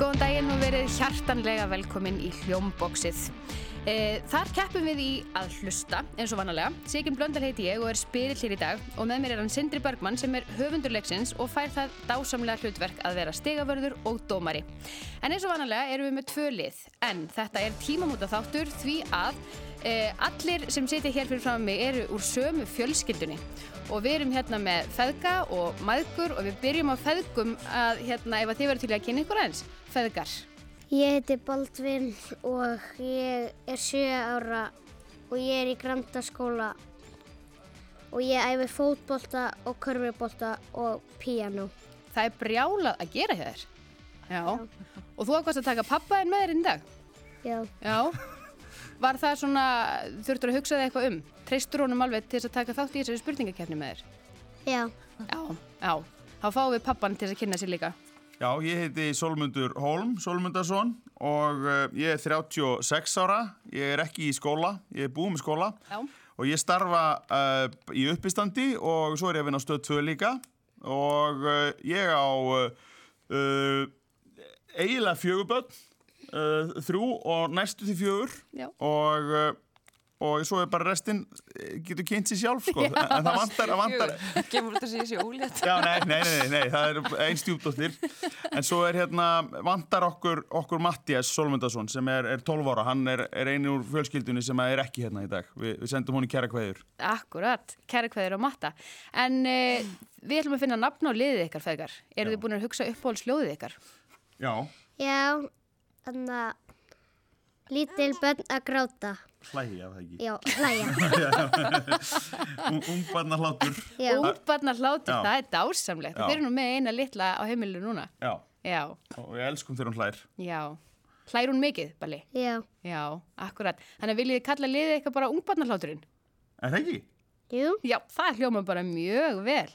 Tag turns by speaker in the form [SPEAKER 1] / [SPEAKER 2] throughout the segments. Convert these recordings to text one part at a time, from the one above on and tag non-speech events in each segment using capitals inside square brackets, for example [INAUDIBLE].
[SPEAKER 1] Góðan daginn og verið hjartanlega velkomin í hljómboksið. E, þar keppum við í að hlusta, eins og vanalega. Sigurinn Blöndal heiti ég og er spyrill hér í dag og með mér er hann Sindri Bergmann sem er höfundur leiksins og fær það dásamlega hlutverk að vera stegavörður og dómari. En eins og vanalega erum við með tvö lið, en þetta er tímamóta þáttur því að e, allir sem sitja hér fyrir fram mig eru úr sömu fjölskyldunni og við erum hérna með feðga og maðgur og við byrjum á feðgum að hérna ef að þið verður til í að kynna ykkur aðeins, feðgar.
[SPEAKER 2] Ég heiti Baldvin og ég er 7 ára og ég er í grandaskóla og ég æfi fótbolta og körfubolta og píanó.
[SPEAKER 1] Það er brjálað að gera hjá þér. Já. Og þú ákvæmst að taka pappa en með þér inn í dag.
[SPEAKER 2] Já,
[SPEAKER 1] Já. Var það svona, þurftur að hugsa þig eitthvað um? Treystur honum alveg til þess að taka þátt í þessari spurningakefni með þér?
[SPEAKER 2] já,
[SPEAKER 1] Já, já. Þá fáum við pappan til þess að kynna sér líka.
[SPEAKER 3] Já, ég heiti Solmundur Holm, Solmundarsson og uh, ég er 36 ára, ég er ekki í skóla, ég er búið með skóla
[SPEAKER 1] Já.
[SPEAKER 3] og ég starfa uh, í uppistandi og svo er ég að vinna á stöð 2 líka og uh, ég á uh, uh, eiginlega fjöguböld, uh, þrjú og næstu því fjögur
[SPEAKER 1] Já.
[SPEAKER 3] og, uh, og svo er bara restinn eh, getur kynnt sér sjálf sko, en það vantar, það vantar,
[SPEAKER 4] Gemur þetta sér sér ólétt.
[SPEAKER 3] Já, nei, nei, nei, nei, það er einn stjúpdóttir En svo er hérna, vantar okkur, okkur Mattias Solmundarsson sem er, er 12 ára Hann er, er einu úr fjölskyldunni sem er ekki hérna í dag Vi, Við sendum honum kæra kveður
[SPEAKER 1] Akkurat, kæra kveður og matta. En uh, við ætlum að finna nafn á liðið ykkar, feðgar. Eru þið búin að hugsa uppáhaldsljóðið ykkar?
[SPEAKER 3] Já,
[SPEAKER 2] já, þannig að lítil bönn að gráta,
[SPEAKER 3] hlægja það ekki
[SPEAKER 2] já, hlæja,
[SPEAKER 3] Ungbarna hlátur
[SPEAKER 2] já,
[SPEAKER 1] Ungbarnar hlátur,
[SPEAKER 3] Já.
[SPEAKER 1] það er dásamlegt.
[SPEAKER 3] Já.
[SPEAKER 1] Þeir eru nú með eina litla á heimilu núna.
[SPEAKER 3] Já,
[SPEAKER 1] Já,
[SPEAKER 3] og við elskum þegar hún hlær
[SPEAKER 1] já. Hlær hún mikið, Balli?
[SPEAKER 2] já,
[SPEAKER 1] Já, akkurat. Þannig að viljið þið kalla liðið eitthvað bara ungbarnarhláturinn?
[SPEAKER 3] Er það ekki?
[SPEAKER 2] jú,
[SPEAKER 1] Já, það hljóma bara mjög vel.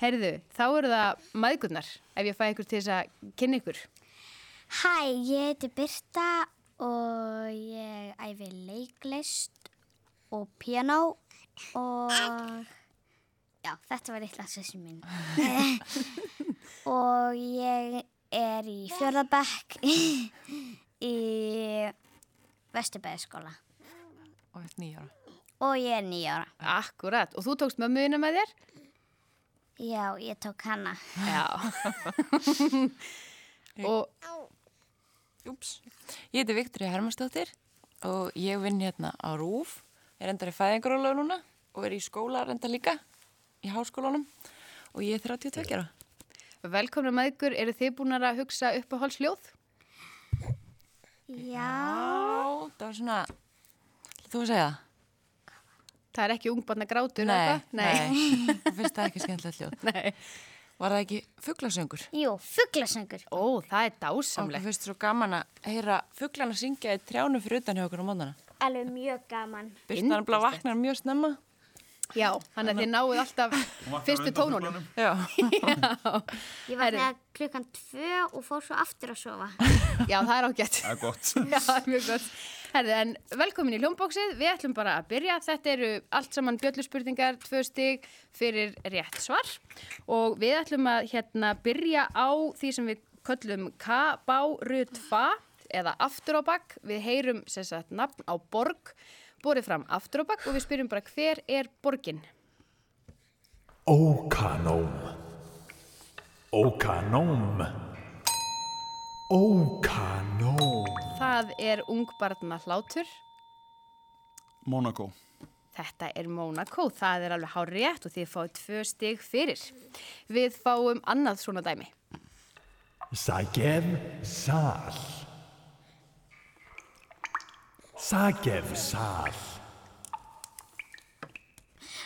[SPEAKER 1] Herðu, þá eru það maðgurnar, ef ég fæ ykkur til þess að kynna ykkur.
[SPEAKER 5] Hæ, ég heiti Birta og ég æfi leiklist og piano og já, þetta var eitthvað sessi [LAUGHS] mín. og ég er í fjörðabekk í Vesturbæðiskóla
[SPEAKER 4] Og þetta nýjára.
[SPEAKER 5] og ég er nýjára.
[SPEAKER 1] Akkurat, og þú tókst mömmuna með þér?
[SPEAKER 5] Já, ég tók hana.
[SPEAKER 1] Já. [LAUGHS] og
[SPEAKER 4] Úps. Ég heiti Viktoria Hermansdóttir og ég vinn hérna á RÚF. Er endar í fæðingarólau núna og er í skóla reyndar líka í háskólanum og ég er 32 ára.
[SPEAKER 1] velkomna maðgur, eru þið búin að hugsa uppáhaldsljóð?
[SPEAKER 5] Já.
[SPEAKER 4] Á, það var svona, ætlar þú að segja það?
[SPEAKER 1] Það er ekki ungbarnar grátur
[SPEAKER 4] nei. Þú finnst það ekki skemmtilegt hljóð.
[SPEAKER 1] Nei. [LAUGHS]
[SPEAKER 4] Var það ekki fugglasöngur?
[SPEAKER 5] Jú, fugglasöngur.
[SPEAKER 1] Ó, það er
[SPEAKER 4] Samlega.
[SPEAKER 1] dásamlegt.
[SPEAKER 4] Þú finnst svo gaman að heyra fugglana syngja í trjánum fyrir utan hjá okkur á móndana.
[SPEAKER 5] Alveg mjög gaman.
[SPEAKER 4] Byrstnar bara vaknar mjög snemma.
[SPEAKER 1] Já, þannig að þið náuð alltaf fyrstu tónunum.
[SPEAKER 4] Já.
[SPEAKER 5] Ég
[SPEAKER 1] Herri.
[SPEAKER 5] vaknaði klukkan tvö og fór svo aftur að sofa.
[SPEAKER 1] Já, það er ágætt.
[SPEAKER 3] Það er gott [LAUGHS]
[SPEAKER 1] Já, það er mjög gott. Herði, en velkomin í hljómbóksið. Við ætlum bara að byrja. Þetta eru allt saman bjöllurspurningar, tvö stig fyrir rétt svar. Og við ætlum að hérna byrja á því sem við köllum K-bá-rut-fa eða aftur á bakk. Við heyrum sem sagt nafn á borg, borið fram aftur á bakk og við spyrjum bara hver er borgin?
[SPEAKER 6] Ókanóm Ókanóm Ókanóm
[SPEAKER 1] Það er ungbarna hlátur.
[SPEAKER 3] Monaco
[SPEAKER 1] Þetta er Monaco, það er alveg hár rétt og þið fáið tvö stig fyrir. Við fáum annað svona dæmi.
[SPEAKER 6] Sækjef sal Sækjef sal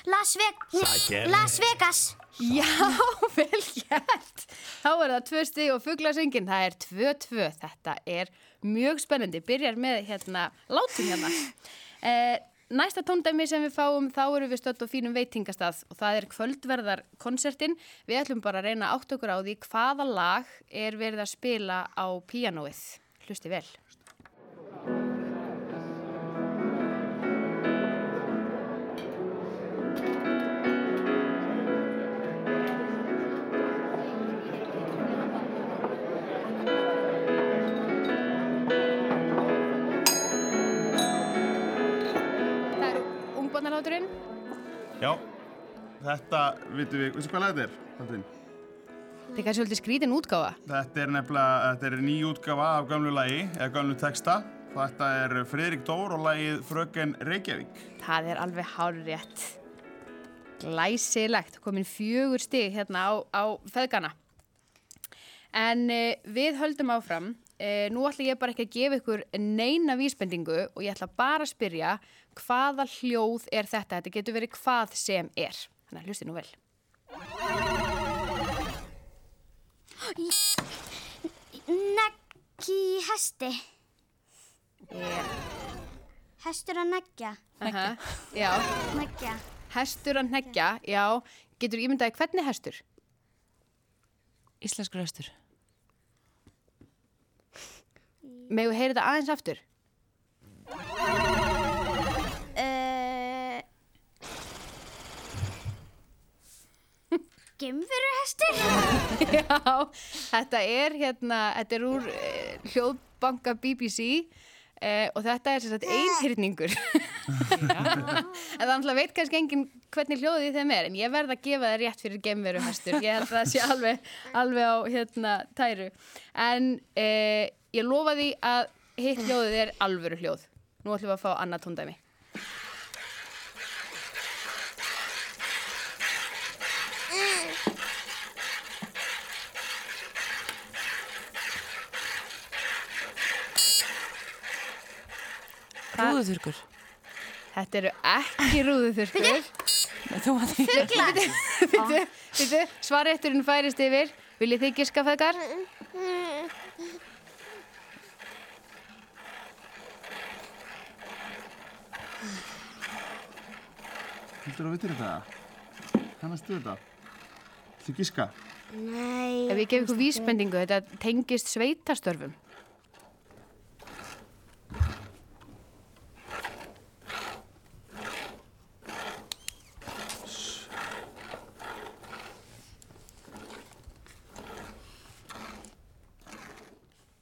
[SPEAKER 5] Las, Ve
[SPEAKER 6] Sækjef
[SPEAKER 5] Las Vegas
[SPEAKER 1] Já, [LAUGHS] vel gert. Þá er það tvö stig og fugglasöngin, það er 2-2. Þetta er mjög spennandi. Byrjar með hérna látum hérna. Eh, næsta tóndæmi sem við fáum, þá erum við stödd á fínum veitingastað og það er kvöldverðarkonsertin. Við ætlum bara að reyna átt okkur á því hvaða lag er verið að spila á píanóið. Hlusti vel.
[SPEAKER 3] Ég
[SPEAKER 1] þátturinn.
[SPEAKER 3] Já, þetta, vitum við, veistu hvað lag þetta er? Katrín?
[SPEAKER 1] Þetta er kannski svolítið skrítin útgáfa.
[SPEAKER 3] Þetta er nefnilega, þetta er ný útgafa af gamlu lagi, eða gamlu texta. Þetta er Friðrik Dór og lagið Fröken Reykjavík.
[SPEAKER 1] Það er alveg hárrétt. Glæsilegt, komin fjögur stig hérna á, á feðgana. En uh, við höldum áfram. Uh, nú ætla ég bara ekki að gefa ykkur neina vísbendingu og ég ætla bara að spyrja hvaða hljóð er þetta? Þetta getur verið hvað sem er. Þannig að hlusti nú vel.
[SPEAKER 5] Negg í hesti. Hestur að neggja.
[SPEAKER 1] Uh Já,
[SPEAKER 5] Neggja.
[SPEAKER 1] hestur að hneggja, já. Getur ímyndaði hvernig hestur?
[SPEAKER 4] Íslenskur höstur.
[SPEAKER 1] Megu heyri þetta aðeins aftur?
[SPEAKER 5] Uh, Gimfurur hestur.
[SPEAKER 1] Já, þetta er hérna, þetta er úr eh, hljóðbanka BBC eh, og þetta er sem sagt einhyrningur. [LAUGHS] en það náttúrulega veit kannski enginn hvernig hljóðið þeim er, en ég verð að gefa það rétt fyrir gemveruhestur. Ég held að það sé alveg, alveg á hérna tæru. En eh, ég lofa því að hitt hljóðið er alvöru hljóð. Nú ætlum við að fá annað tóndæmi.
[SPEAKER 4] Rúðuþurkur.
[SPEAKER 1] Þetta eru ekki rúðuþurftur.
[SPEAKER 4] Nei, þú að því.
[SPEAKER 1] Býtu, svarétturinn færist yfir. Viljið þið giska feðgar?
[SPEAKER 3] Heldur þú að vitir þetta? Hannastu þetta? Þú gíska?
[SPEAKER 2] Nei.
[SPEAKER 1] Ef ég gef ykkur vísbendingu, þetta tengist sveitastörfum.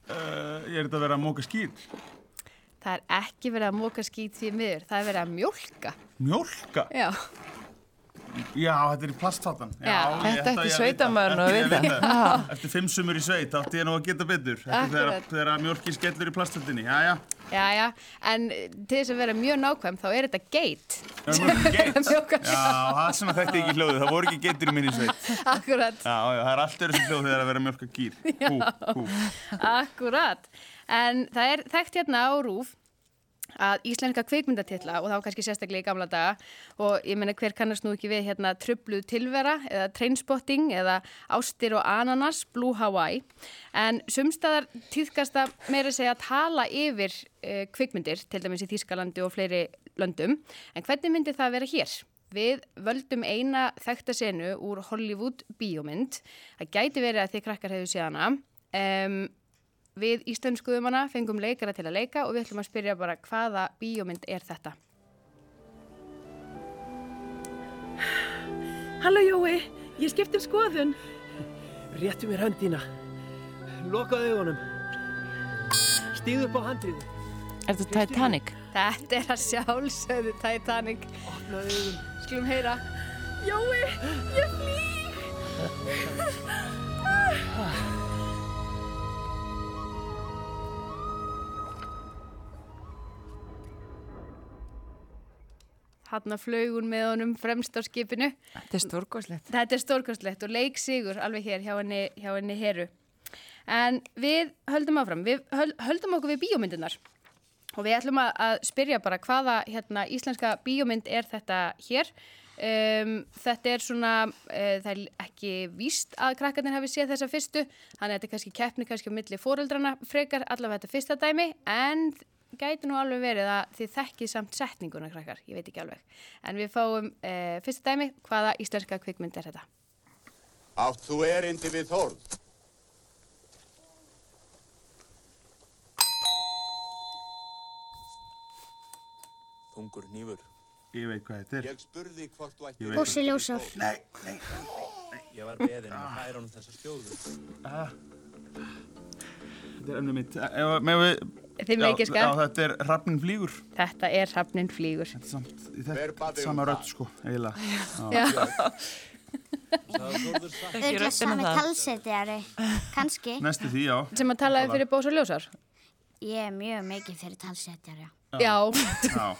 [SPEAKER 3] Uh, ég er þetta að vera að móka skýt.
[SPEAKER 1] Það er ekki verið að móka skít því miður, það er verið að mjólka.
[SPEAKER 3] Mjólka?
[SPEAKER 1] Já.
[SPEAKER 3] Já, þetta er í plastfattan. Já,
[SPEAKER 1] Já.
[SPEAKER 3] ég-
[SPEAKER 4] Þetta
[SPEAKER 3] á
[SPEAKER 4] ætti
[SPEAKER 3] ég að vita.
[SPEAKER 4] sveitamaðurinn að
[SPEAKER 3] Ætti ég
[SPEAKER 4] vita.
[SPEAKER 3] vita. Eftir fimm sumur í sveit átti ég nú að geta betur. Þetta er þegar-
[SPEAKER 1] Akkurat.
[SPEAKER 3] þegar að mjólkin skellur í plastfattinni. Já, já.
[SPEAKER 1] Já, já, en til þess að vera mjög nákvæm þá er þetta geit.
[SPEAKER 3] Já, mjólkin geit.
[SPEAKER 1] Mjólka-
[SPEAKER 3] Já, það sem að þetta ekki hljóðið. Það voru ekki geitir í minni sveit.
[SPEAKER 1] Akkurat,
[SPEAKER 3] Já, já, það er allt öðru sem hljóð þegar að vera að mjólka
[SPEAKER 1] [LAUGHS]
[SPEAKER 3] gýr. Hú, hú.
[SPEAKER 1] akkurat. En það er þekkt hérna á rúf að íslenska kveikmyndatitla og þá kannski sérstaklega í gamla daga og ég meina hver kannast nú ekki við hérna trubluð tilvera eða trainspotting eða ástir og ananas, Blue Hawaii en sumstaðar týðkast að meira segja að tala yfir uh, kveikmyndir, til dæmis í Þýskalandi og fleiri löndum, en hvernig myndi það vera hér? Við völdum eina þekta senu úr Hollywood bíómynd, það gæti verið að þið krakkar hefðu séð hana um, Við íslenskuðum hana fengum leikara til að leika og við ætlum að spyrja bara hvaða bíómynd er þetta?
[SPEAKER 7] Halló Jói, ég skipt um skoðun.
[SPEAKER 8] Réttu mér höndina. Lokaðu augunum. Stíðu upp á handriðu.
[SPEAKER 4] Er þetta Titanic?
[SPEAKER 1] Þetta er að sjálfsögðu Titanic.
[SPEAKER 8] Opnaðu augun.
[SPEAKER 1] Skulum heyra.
[SPEAKER 7] Jói, ég flýg.
[SPEAKER 1] Hanna flögun með honum fremst á skipinu.
[SPEAKER 4] Þetta er stórgóðslegt.
[SPEAKER 1] Þetta er stórkostlegt og leik sigur alveg hér hjá henni, hjá henni heru. En við höldum áfram, við höl- höldum okkur við bíómyndunar og við ætlum að, að spyrja bara hvaða hérna, íslenska bíómynd er þetta hér. Um, þetta er svona, uh, það er ekki víst að krakkarnir hafi séð þessa fyrstu, þannig að þetta er kannski keppni kannski á milli fóreldrana frekar allavega þetta fyrsta dæmi, en gæti nú alveg verið að þið þekkið samt setninguna krakkar, ég veit ekki alveg. En við fáum uh, fyrsta dæmi, hvaða íslenska kvikmynd er þetta?
[SPEAKER 9] Átt þú erindi við Þórð?
[SPEAKER 10] Tungur nýfur.
[SPEAKER 3] Ég veit hvað þetta er.
[SPEAKER 9] Ég spurði hvort þú ætti
[SPEAKER 3] Ég veit
[SPEAKER 2] Bósi ljósar.
[SPEAKER 10] Ég var beðin
[SPEAKER 3] Ah.
[SPEAKER 10] um að færa honum þessa skjóðu.
[SPEAKER 3] Þetta er ömmu mitt. Ef að- Eh, megum við
[SPEAKER 1] Þið
[SPEAKER 3] já,
[SPEAKER 1] leikjaska.
[SPEAKER 3] já, þetta er Hrafnin flýgur
[SPEAKER 1] Þetta er hrafnin flýgur.
[SPEAKER 3] Þetta er samt, þetta er sama rödd sko, eiginlega
[SPEAKER 1] Já.
[SPEAKER 5] Örgla sami talsetjari, kannski.
[SPEAKER 3] Næstu því, já
[SPEAKER 1] Sem að talaði fyrir bós og ljósar.
[SPEAKER 5] Ég er mjög mikið fyrir talsetjari.
[SPEAKER 1] Já.
[SPEAKER 3] [LAUGHS] Já.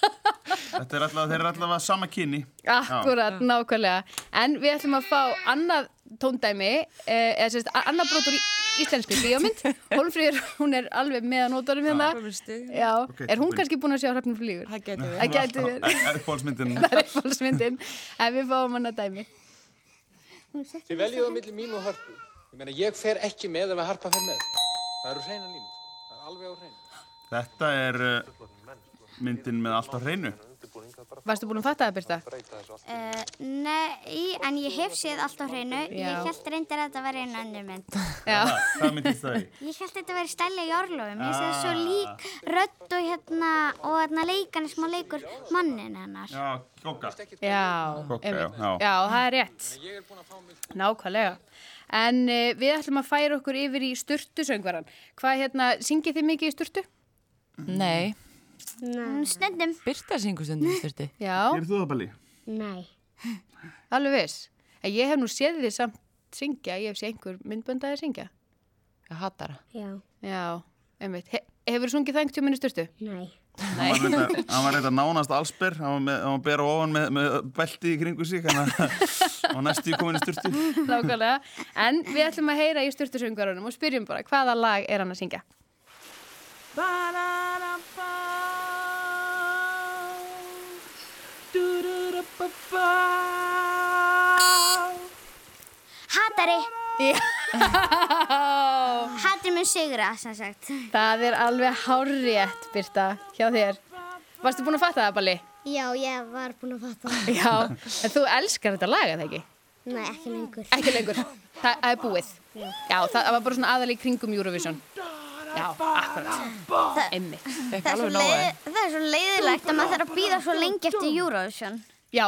[SPEAKER 3] Þetta er allavega, þeir eru allavega sama kynni
[SPEAKER 1] Akkurat, nákvæmlega. En við ætlum að fá annað tóndæmi, eh, eða sérst, annað brotur í íslensku [LAUGHS] bíómynd. Hólfríður, hún er alveg með að nótunum hérna.
[SPEAKER 4] Alveg stig.
[SPEAKER 1] Já,
[SPEAKER 3] Ok,
[SPEAKER 1] er hún
[SPEAKER 3] tilbúin.
[SPEAKER 1] kannski búin að sjá hrafnin flýgur? Það
[SPEAKER 4] gæti
[SPEAKER 1] Það gæti verið.
[SPEAKER 3] eh,
[SPEAKER 1] [LAUGHS]
[SPEAKER 3] Uppbólsmyndin
[SPEAKER 1] Það er uppáhaldsmyndin. En við fáum annað dæmi.
[SPEAKER 11] Þið veljuðu á milli mín og harpu. Ég meina, ég fer ekki með ef að harpa fer með. Það eru hreinar línur. Það er alveg á hreinu.
[SPEAKER 3] Þetta er uh, myndin með allt á hreinu
[SPEAKER 1] Varstu búin að fatta það, Birta?
[SPEAKER 5] Uh, nei, en ég hef séð allt á hreinu.
[SPEAKER 1] Já.
[SPEAKER 5] Ég held reyndar að þetta væri einu önnur mynd.
[SPEAKER 1] Já.
[SPEAKER 3] Hvað myndist það í?
[SPEAKER 5] Ég held þetta væri stæli í orlofum. Ég séð svo
[SPEAKER 3] Ah.
[SPEAKER 5] lík rödd og hérna, og hérna leikan er smá leikur mannin hennar.
[SPEAKER 3] Já, kokka
[SPEAKER 1] Já,
[SPEAKER 3] Kokka,
[SPEAKER 1] einmitt.
[SPEAKER 3] já, já.
[SPEAKER 1] já, það er rétt. Nákvæmlega. En uh, við ætlum að færa okkur yfir í styrtu söngvaran. Hvað hérna, syngið þið mikið í styrtu?
[SPEAKER 4] Nei.
[SPEAKER 2] Nei.
[SPEAKER 5] Snöndum.
[SPEAKER 4] Birta syngur stundum styrti.
[SPEAKER 1] Já.
[SPEAKER 3] Er þú það bæli?
[SPEAKER 2] Nei.
[SPEAKER 1] Alveg viss. En ég hef nú séð þið samt syngja, ég hef séð einhver myndböndaði syngja.
[SPEAKER 4] Ég hatar það.
[SPEAKER 2] Já.
[SPEAKER 1] Já, einmitt. He hefur sungið það einhvern tjóminni styrtu?
[SPEAKER 2] Nei.
[SPEAKER 1] Nei.
[SPEAKER 3] Hann var reyndar- hann var reynda nánast allsber Hann var, með, hann var bera ofan með, með belti í kringu sig Þannig að [LAUGHS] hann næstu í komin í styrtu
[SPEAKER 1] [LAUGHS] Nákvæmlega. En við ætlum að heyra í styrtu söngvarunum og spyrjum bara hvaða lag er hann að syngja?
[SPEAKER 5] Hatari.
[SPEAKER 1] Já.
[SPEAKER 5] [LAUGHS] Hatari mun sigra, sem sagt.
[SPEAKER 1] Það er alveg hárétt, Birta, hjá þér. Varstu búin að fatta það, Balli?
[SPEAKER 2] Já, ég var búin að fatta það.
[SPEAKER 1] Já. En þú elskar þetta lag, eða ekki?
[SPEAKER 2] Nei, ekki lengur.
[SPEAKER 1] Ekki lengur. Það það er búið. Já, það var bara svona aðal í kringum Eurovision. Já, akkurat. Einmitt.
[SPEAKER 5] Það er, svo leið, það er svo leiðilegt að maður þarf að býða svo lengi eftir Eurovision.
[SPEAKER 1] Já,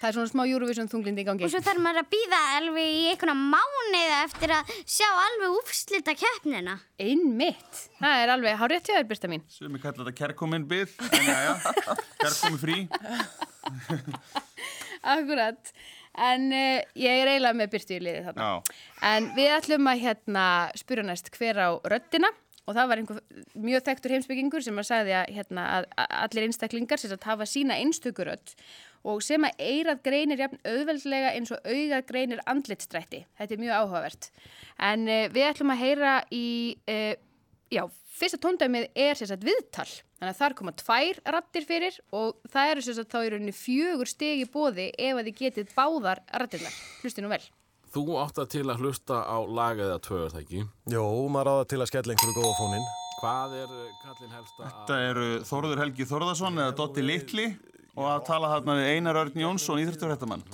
[SPEAKER 1] það er svona smá Eurovision þunglindi í gangi.
[SPEAKER 5] Og svo þarf maður að býða alveg í einhverja mánuði eftir að sjá alveg úfslita keppnina.
[SPEAKER 1] Einmitt. Það er alveg hárétt hjá þér, Birta mín.
[SPEAKER 3] Sumi kallar þetta kærkomin byð En já, já, kærkomin frí
[SPEAKER 1] Akkurat. En uh, ég er eiginlega með Birtu í liði þarna.
[SPEAKER 3] Já
[SPEAKER 1] En við ætlum að hérna spyrja næst hver á röddina og það var einhver mjög þekktur heimsbyggingur sem að sagði að, hérna, að, að allir einstaklingar sem sagt hafa sína einstöku rödd og sem að eirað greinir jafn auðveldlega eins og augað greinir andlitstrætti. Þetta er mjög áhugavert. En uh, við ætlum að heyra í, uh, já, fyrsta tóndæmið er sem sagt viðtal. Þannig að þar koma tvær rattir fyrir og það eru sem sagt þá í rauninni fjögur stegi bóði ef að þið getið báðar rattirnar. Hlusti nú vel.
[SPEAKER 12] Þú átt að til að hlusta á lag eða tvö, er það ekki?
[SPEAKER 13] Jó, maður áða til að skella einhverju góða fóninn.
[SPEAKER 12] Hvað er eh, kallinn helsta að...
[SPEAKER 3] Þetta eru Þórður Helgi Þórðarsson eða Dotti Litli og að tala þarna við Einar Örn Jónsson, íþrætturhættamann.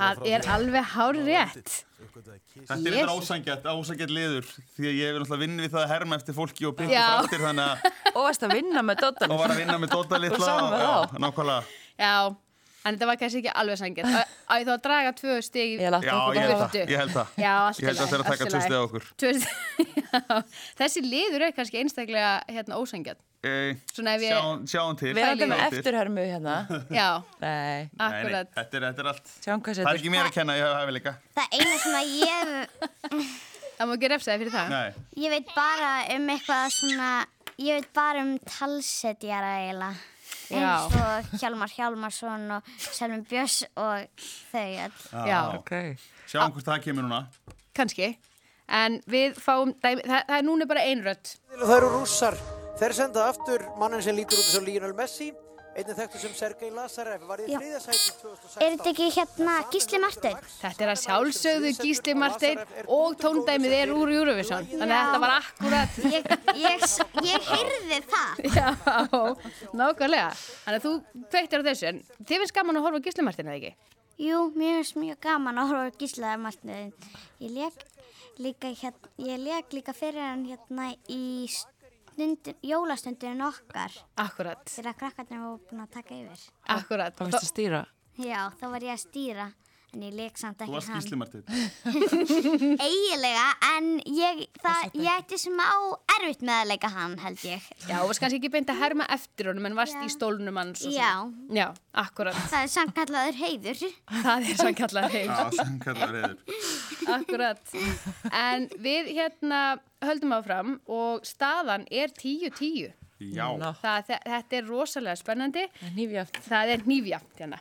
[SPEAKER 1] Það er alveg hár rétt.
[SPEAKER 3] Þetta er
[SPEAKER 1] Yes.
[SPEAKER 3] eitthvað ásangett, ásangett liður því að ég hefur náttúrulega vinn við það að herma eftir fólki og pikka
[SPEAKER 1] Já.
[SPEAKER 3] frættir þannig að
[SPEAKER 4] Og varst að vinna með Dottan.
[SPEAKER 3] og var að vinna með Dotta
[SPEAKER 4] Og
[SPEAKER 3] Litla
[SPEAKER 4] saman með
[SPEAKER 3] og
[SPEAKER 4] þá.
[SPEAKER 3] já, nákvæmlega.
[SPEAKER 1] Já, en þetta var kannski ekki alveg sangið. Á ég þá að draga tvö stig í
[SPEAKER 3] Já, ég held það, ég held það.
[SPEAKER 1] Já, allt í
[SPEAKER 3] Ég held að
[SPEAKER 1] lagi,
[SPEAKER 3] þeirra
[SPEAKER 1] allt í
[SPEAKER 3] taka tvö
[SPEAKER 1] lagi.
[SPEAKER 3] stið á okkur.
[SPEAKER 1] Tvö stig, [LAUGHS] já. Þessi liður er kannski einstaklega hérna, ósangið.
[SPEAKER 3] E,
[SPEAKER 1] Svona ef ég-
[SPEAKER 3] sjáum, sjáum um til.
[SPEAKER 4] Við erum
[SPEAKER 3] sjáum
[SPEAKER 4] með
[SPEAKER 3] til.
[SPEAKER 4] eftirhörmu hérna.
[SPEAKER 1] Já.
[SPEAKER 4] Nei.
[SPEAKER 3] Nei, nei, Þetta er, þetta er allt.
[SPEAKER 4] Sjáum hvað
[SPEAKER 3] Það er ekki mér að kenna, ég hef hefileika.
[SPEAKER 5] Það eina sem að ég,
[SPEAKER 1] Það má ekki refsaði fyrir það.
[SPEAKER 3] Nei.
[SPEAKER 5] ég veit bara um eitthvað svona, ég veit bara um talsetjara eiginlega.
[SPEAKER 1] Já.
[SPEAKER 5] Eins og Hjalmar Hjalmarsson og Selmi Björns og þau öll.
[SPEAKER 1] Já.
[SPEAKER 3] Ah,
[SPEAKER 4] Okay.
[SPEAKER 3] Sjáum hvort það kemur núna.
[SPEAKER 1] Kannski. En við fáum, dæmi, það, það er núna bara einrödd.
[SPEAKER 14] Það eru rússar. Þeir senda aftur mannin sem lítur út eins og Lionel Messi, einnig þekktu sem Sergei Lazarev, var í
[SPEAKER 5] Já.
[SPEAKER 14] þriðja sæti 2016.
[SPEAKER 5] Er þetta ekki hérna Gísli Marteinn?
[SPEAKER 1] Þetta er að sjálfsögðu Gísli Marteinn og tóndæmið er úr Eurovision. Þannig að
[SPEAKER 5] Já.
[SPEAKER 1] þetta var akkurat.
[SPEAKER 5] Ég, ég, ég heyrði það.
[SPEAKER 1] Já, nákvæmlega. Þannig að þú kveiktir á þessu, en þið finnst gaman að horfa á Gísli Martin, eða ekki?
[SPEAKER 5] Jú, mér finnst mjög gaman að horfa á Gíslaðar Marteinn. Ég leik líka, hérna, ég leik líka fyrir hann hérna í stundin, jólastundin okkar.
[SPEAKER 1] Akkurat.
[SPEAKER 5] Þegar krakkarnir voru búin að taka yfir.
[SPEAKER 1] Akkurat.
[SPEAKER 4] Það varst að stýra.
[SPEAKER 5] Já, þá var ég að stýra. En ég leik samt
[SPEAKER 3] Þú
[SPEAKER 5] ekki
[SPEAKER 3] varst Gísli Marteinn.
[SPEAKER 5] Eigilega, en ég, það, ég ætti smá erfitt með að leika hann, held ég.
[SPEAKER 1] Já, þú varst kannski ekki beint að herma eftir honum en varst
[SPEAKER 5] Já.
[SPEAKER 1] í stólnum hans og
[SPEAKER 5] Já.
[SPEAKER 1] svona. Já, akkurat.
[SPEAKER 5] Það er sannkallaður heiður.
[SPEAKER 1] Það er sannkallaður
[SPEAKER 3] Já, sannkallar reyður.
[SPEAKER 1] Akkurat. En við hérna höldum áfram og staðan er 10-10.
[SPEAKER 3] Já. Ná.
[SPEAKER 1] Það, þe- þetta er rosalega spennandi. Það er nýfjaft. Það er nýfjaft hérna.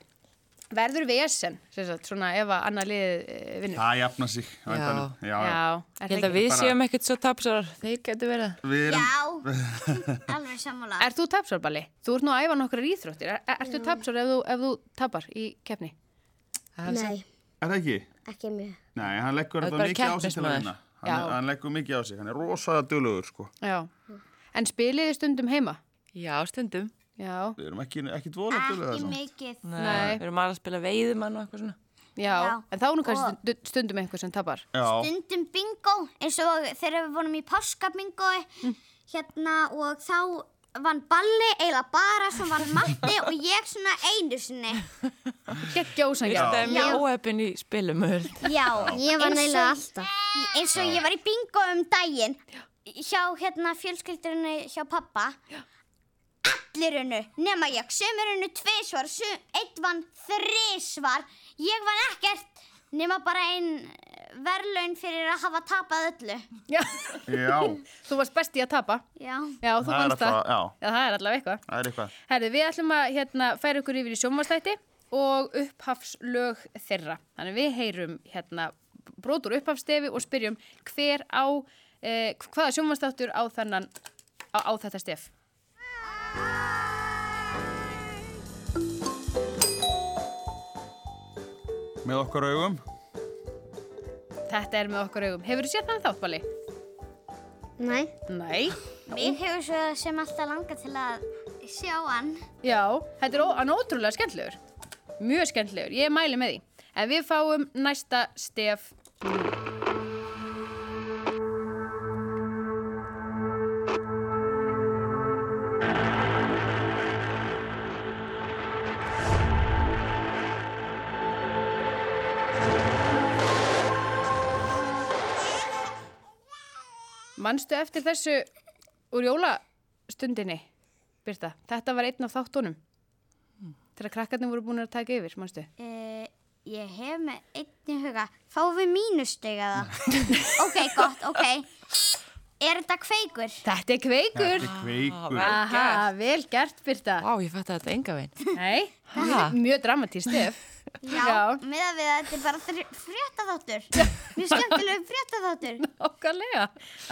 [SPEAKER 1] Verður vesen, sem sagt, svona ef að annar liðið eh, vinnur.
[SPEAKER 3] Það jafna sig. á endanum. já, já.
[SPEAKER 1] er það
[SPEAKER 4] Ég held að
[SPEAKER 1] ekki?
[SPEAKER 4] við
[SPEAKER 3] Bara-
[SPEAKER 4] séum ekkert svo tapsarar. Þeir getur verið.
[SPEAKER 3] Við erum...
[SPEAKER 5] Alveg sammála.
[SPEAKER 1] Er þú tapsvarballi? Þú ert nú að æfa nokkrar íþróttir. Er, er, ertu
[SPEAKER 5] Já.
[SPEAKER 1] tapsvar ef þú, ef þú tapar í keppni?
[SPEAKER 2] Nei,
[SPEAKER 3] Er það ekki?
[SPEAKER 2] ekki mjög.
[SPEAKER 3] Nei, hann leggur
[SPEAKER 1] Það er
[SPEAKER 3] þetta
[SPEAKER 1] bara
[SPEAKER 3] mikið á sig til að
[SPEAKER 1] keppnismaður.
[SPEAKER 3] vinna.
[SPEAKER 1] Já.
[SPEAKER 3] Hann, hann leggur mikið á sig. Hann er rosalega duglegur, sko.
[SPEAKER 1] Já. En spiliði stundum heima?
[SPEAKER 4] Já, stundum.
[SPEAKER 1] Já.
[SPEAKER 3] Við erum ekki, ekki dvolega duglegur það.
[SPEAKER 5] mikið.
[SPEAKER 4] Nei.
[SPEAKER 1] Nei.
[SPEAKER 4] Við erum aðra að spila veiðumann og eitthvað svona.
[SPEAKER 1] Já. En þá er nú kannski
[SPEAKER 5] Og-
[SPEAKER 1] stund- stundum einhver sem tapar.
[SPEAKER 3] Já.
[SPEAKER 5] Stundum bingo, eins og þegar við vorum í páskabingo, hérna, og þá vann Balli, eiginlega bara, sem vann Matti og ég svona einu sinni.
[SPEAKER 1] Gekki
[SPEAKER 4] Ég
[SPEAKER 1] ósangjarnt.
[SPEAKER 4] stæði
[SPEAKER 5] Já.
[SPEAKER 4] mjög óhefn í spilum. öll.
[SPEAKER 5] Já,
[SPEAKER 2] Ég var
[SPEAKER 5] eins og-
[SPEAKER 2] neila alltaf.
[SPEAKER 5] Eins og ég var í bingo um daginn hjá hérna fjölskyldurinu hjá pappa. Allir unnu, nema ég. Sumir unnu tvisvar, sum, eitt vann þrisvar. Ég vann ekkert, nema bara ein verðlaun fyrir að hafa tapað öllu.
[SPEAKER 1] Já.
[SPEAKER 3] Já.
[SPEAKER 1] Þú varst best í að tapa.
[SPEAKER 5] Já.
[SPEAKER 1] Já, þú
[SPEAKER 3] Það er
[SPEAKER 1] vannst það.
[SPEAKER 3] alltaf- já.
[SPEAKER 1] Já, það er allavega eitthvað.
[SPEAKER 3] Það er eitthvað.
[SPEAKER 1] Herðu, við ætlum að hérna, færa ykkur yfir í sjónvarslætti og upphafslög þeirra. Þannig við heyrum hérna, brotur upphafstefi og spyrjum hver á, eh, hvaða sjónvarslættur á, þennan, á, á þetta stef.
[SPEAKER 3] Með okkar augum.
[SPEAKER 1] Þetta er með okkur augum. Hefur þú séð þannig þáttbali?
[SPEAKER 2] Nei.
[SPEAKER 1] Nei.
[SPEAKER 5] Mér hefur svo sem alltaf langað til að sjá hann.
[SPEAKER 1] Já, þetta er ó- hann er ótrúlega skemmtilegur. Mjög skemmtilegur. Ég mæli með því. En við fáum næsta stef. Manstu eftir þessu úr jólastundinni, Birta? Þetta var einn af þáttunum. Þegar krakkarnir voru búin að taka yfir, manstu?
[SPEAKER 5] Uh, ég hef með einni huga. Fáum við mínustega
[SPEAKER 1] [LAUGHS]
[SPEAKER 5] það? ok, gott, ok. Er þetta kveikur?
[SPEAKER 1] Þetta er kveikur.
[SPEAKER 5] Þetta er kveikur.
[SPEAKER 1] Aha, vel gert, Birta.
[SPEAKER 4] Vá, ég fætti þetta enga veginn.
[SPEAKER 1] Nei,
[SPEAKER 4] Ha?
[SPEAKER 1] mjög- mjög dramatíst stef.
[SPEAKER 5] Já, með að við að þetta er bara fréttaþáttur. Mjög skemmtilegu fréttaþáttur.
[SPEAKER 1] Nákvæmlega,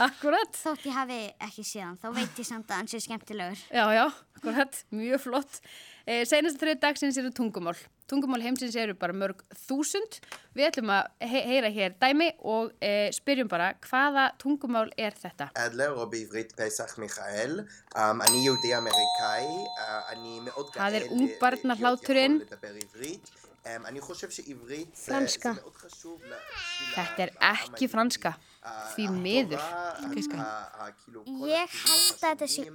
[SPEAKER 1] akkurat.
[SPEAKER 5] Þótt ég hafi ekki síðan, þá veit ég samt að hann sé skemmtilegur.
[SPEAKER 1] Já, já, akkurat, mjög flott. Eh, Seinasta þrjöð dagsins eru tungumál. Tungumál heimsins eru bara mörg þúsund. Við ætlum að he heyra hér dæmi og eh, spyrjum bara hvaða tungumál er þetta?
[SPEAKER 15] אדלר, או בעברית פסח מיכאל. Um, אני יהודי אמריקאי, uh, אני מאוד גאה
[SPEAKER 1] Það er
[SPEAKER 15] ל-
[SPEAKER 1] ungbarna hláturinn.
[SPEAKER 15] לדבר עברית. Um, אני חושב שעברית זה,
[SPEAKER 1] Franska.
[SPEAKER 15] זה מאוד חשוב ל-
[SPEAKER 1] Þetta er ekki franska, því miður.
[SPEAKER 15] ה- ה- ה- כאילו כל
[SPEAKER 5] Ég held að þetta sé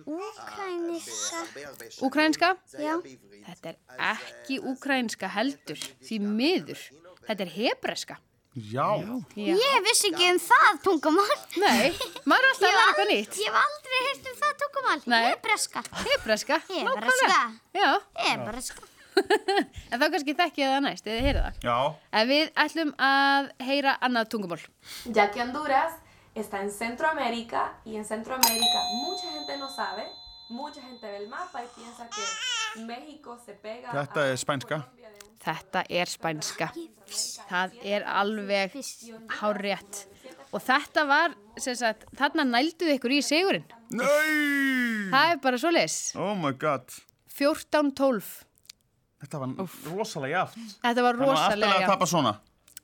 [SPEAKER 5] úkrænisa.
[SPEAKER 15] הרבה הרבה שנים.
[SPEAKER 1] Úkrænska?
[SPEAKER 15] זה היה בעברית.
[SPEAKER 1] Þetta er ekki úkrænska heldur, því miður. Þetta er hebreska.
[SPEAKER 3] Já.
[SPEAKER 1] Já.
[SPEAKER 5] Ég vissi ekki um það tungumál.
[SPEAKER 1] Nei, maður er alltaf að læra eitthvað nýtt.
[SPEAKER 5] Ég hef aldrei heyrt um það tungumál.
[SPEAKER 1] Nei.
[SPEAKER 5] Ég er breska.
[SPEAKER 1] Hebreska,
[SPEAKER 5] Hebreska.
[SPEAKER 1] nákvæmlega. Já.
[SPEAKER 5] Hebreska.
[SPEAKER 1] En þá kannski þekki ég það næst, eða heyrið það.
[SPEAKER 3] Já.
[SPEAKER 1] En við ætlum að heyra annað tungumál.
[SPEAKER 16] ya que Honduras está en Centroamérica y en Centroamérica mucha gente no sabe, mucha gente ve el mapa y piensa que México se pega a
[SPEAKER 3] Þetta er spænska.
[SPEAKER 1] Þetta er spænska. Það er alveg hárétt. Og þetta var, sem sagt, þarna nælduðu ykkur í sigurinn.
[SPEAKER 3] Nei!
[SPEAKER 1] Það er bara svo leis.
[SPEAKER 3] Oh my god.
[SPEAKER 1] 14-12.
[SPEAKER 3] Þetta var rosalega jaft.
[SPEAKER 1] Þetta var rosalega
[SPEAKER 3] Þannig að alltaf að tapa svona.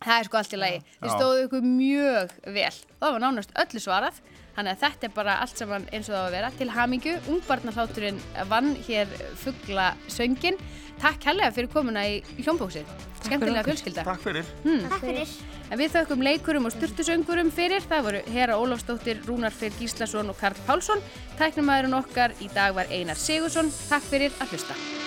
[SPEAKER 1] Það er sko allt í lagi. Þið
[SPEAKER 3] Já.
[SPEAKER 1] stóðu ykkur mjög vel. Það var nánast öllu svarað. Þannig að þetta er bara allt saman eins og það á að vera. Til hamingju, ungbarnarþátturinn vann hér fuggla söngin. Takk helga fyrir komuna í hljómbóksið. Skemmtilega fjölskylda.
[SPEAKER 3] Takk fyrir.
[SPEAKER 1] Hmm.
[SPEAKER 5] Takk fyrir.
[SPEAKER 1] En við þökkum leikurum og styrtusöngurum fyrir. Það voru Hera Ólafsdóttir, Rúnar Freyr Gíslason og Karl Pálsson. Tæknumæðurinn okkar í dag var Einar Sigursson. Takk fyrir að hlusta.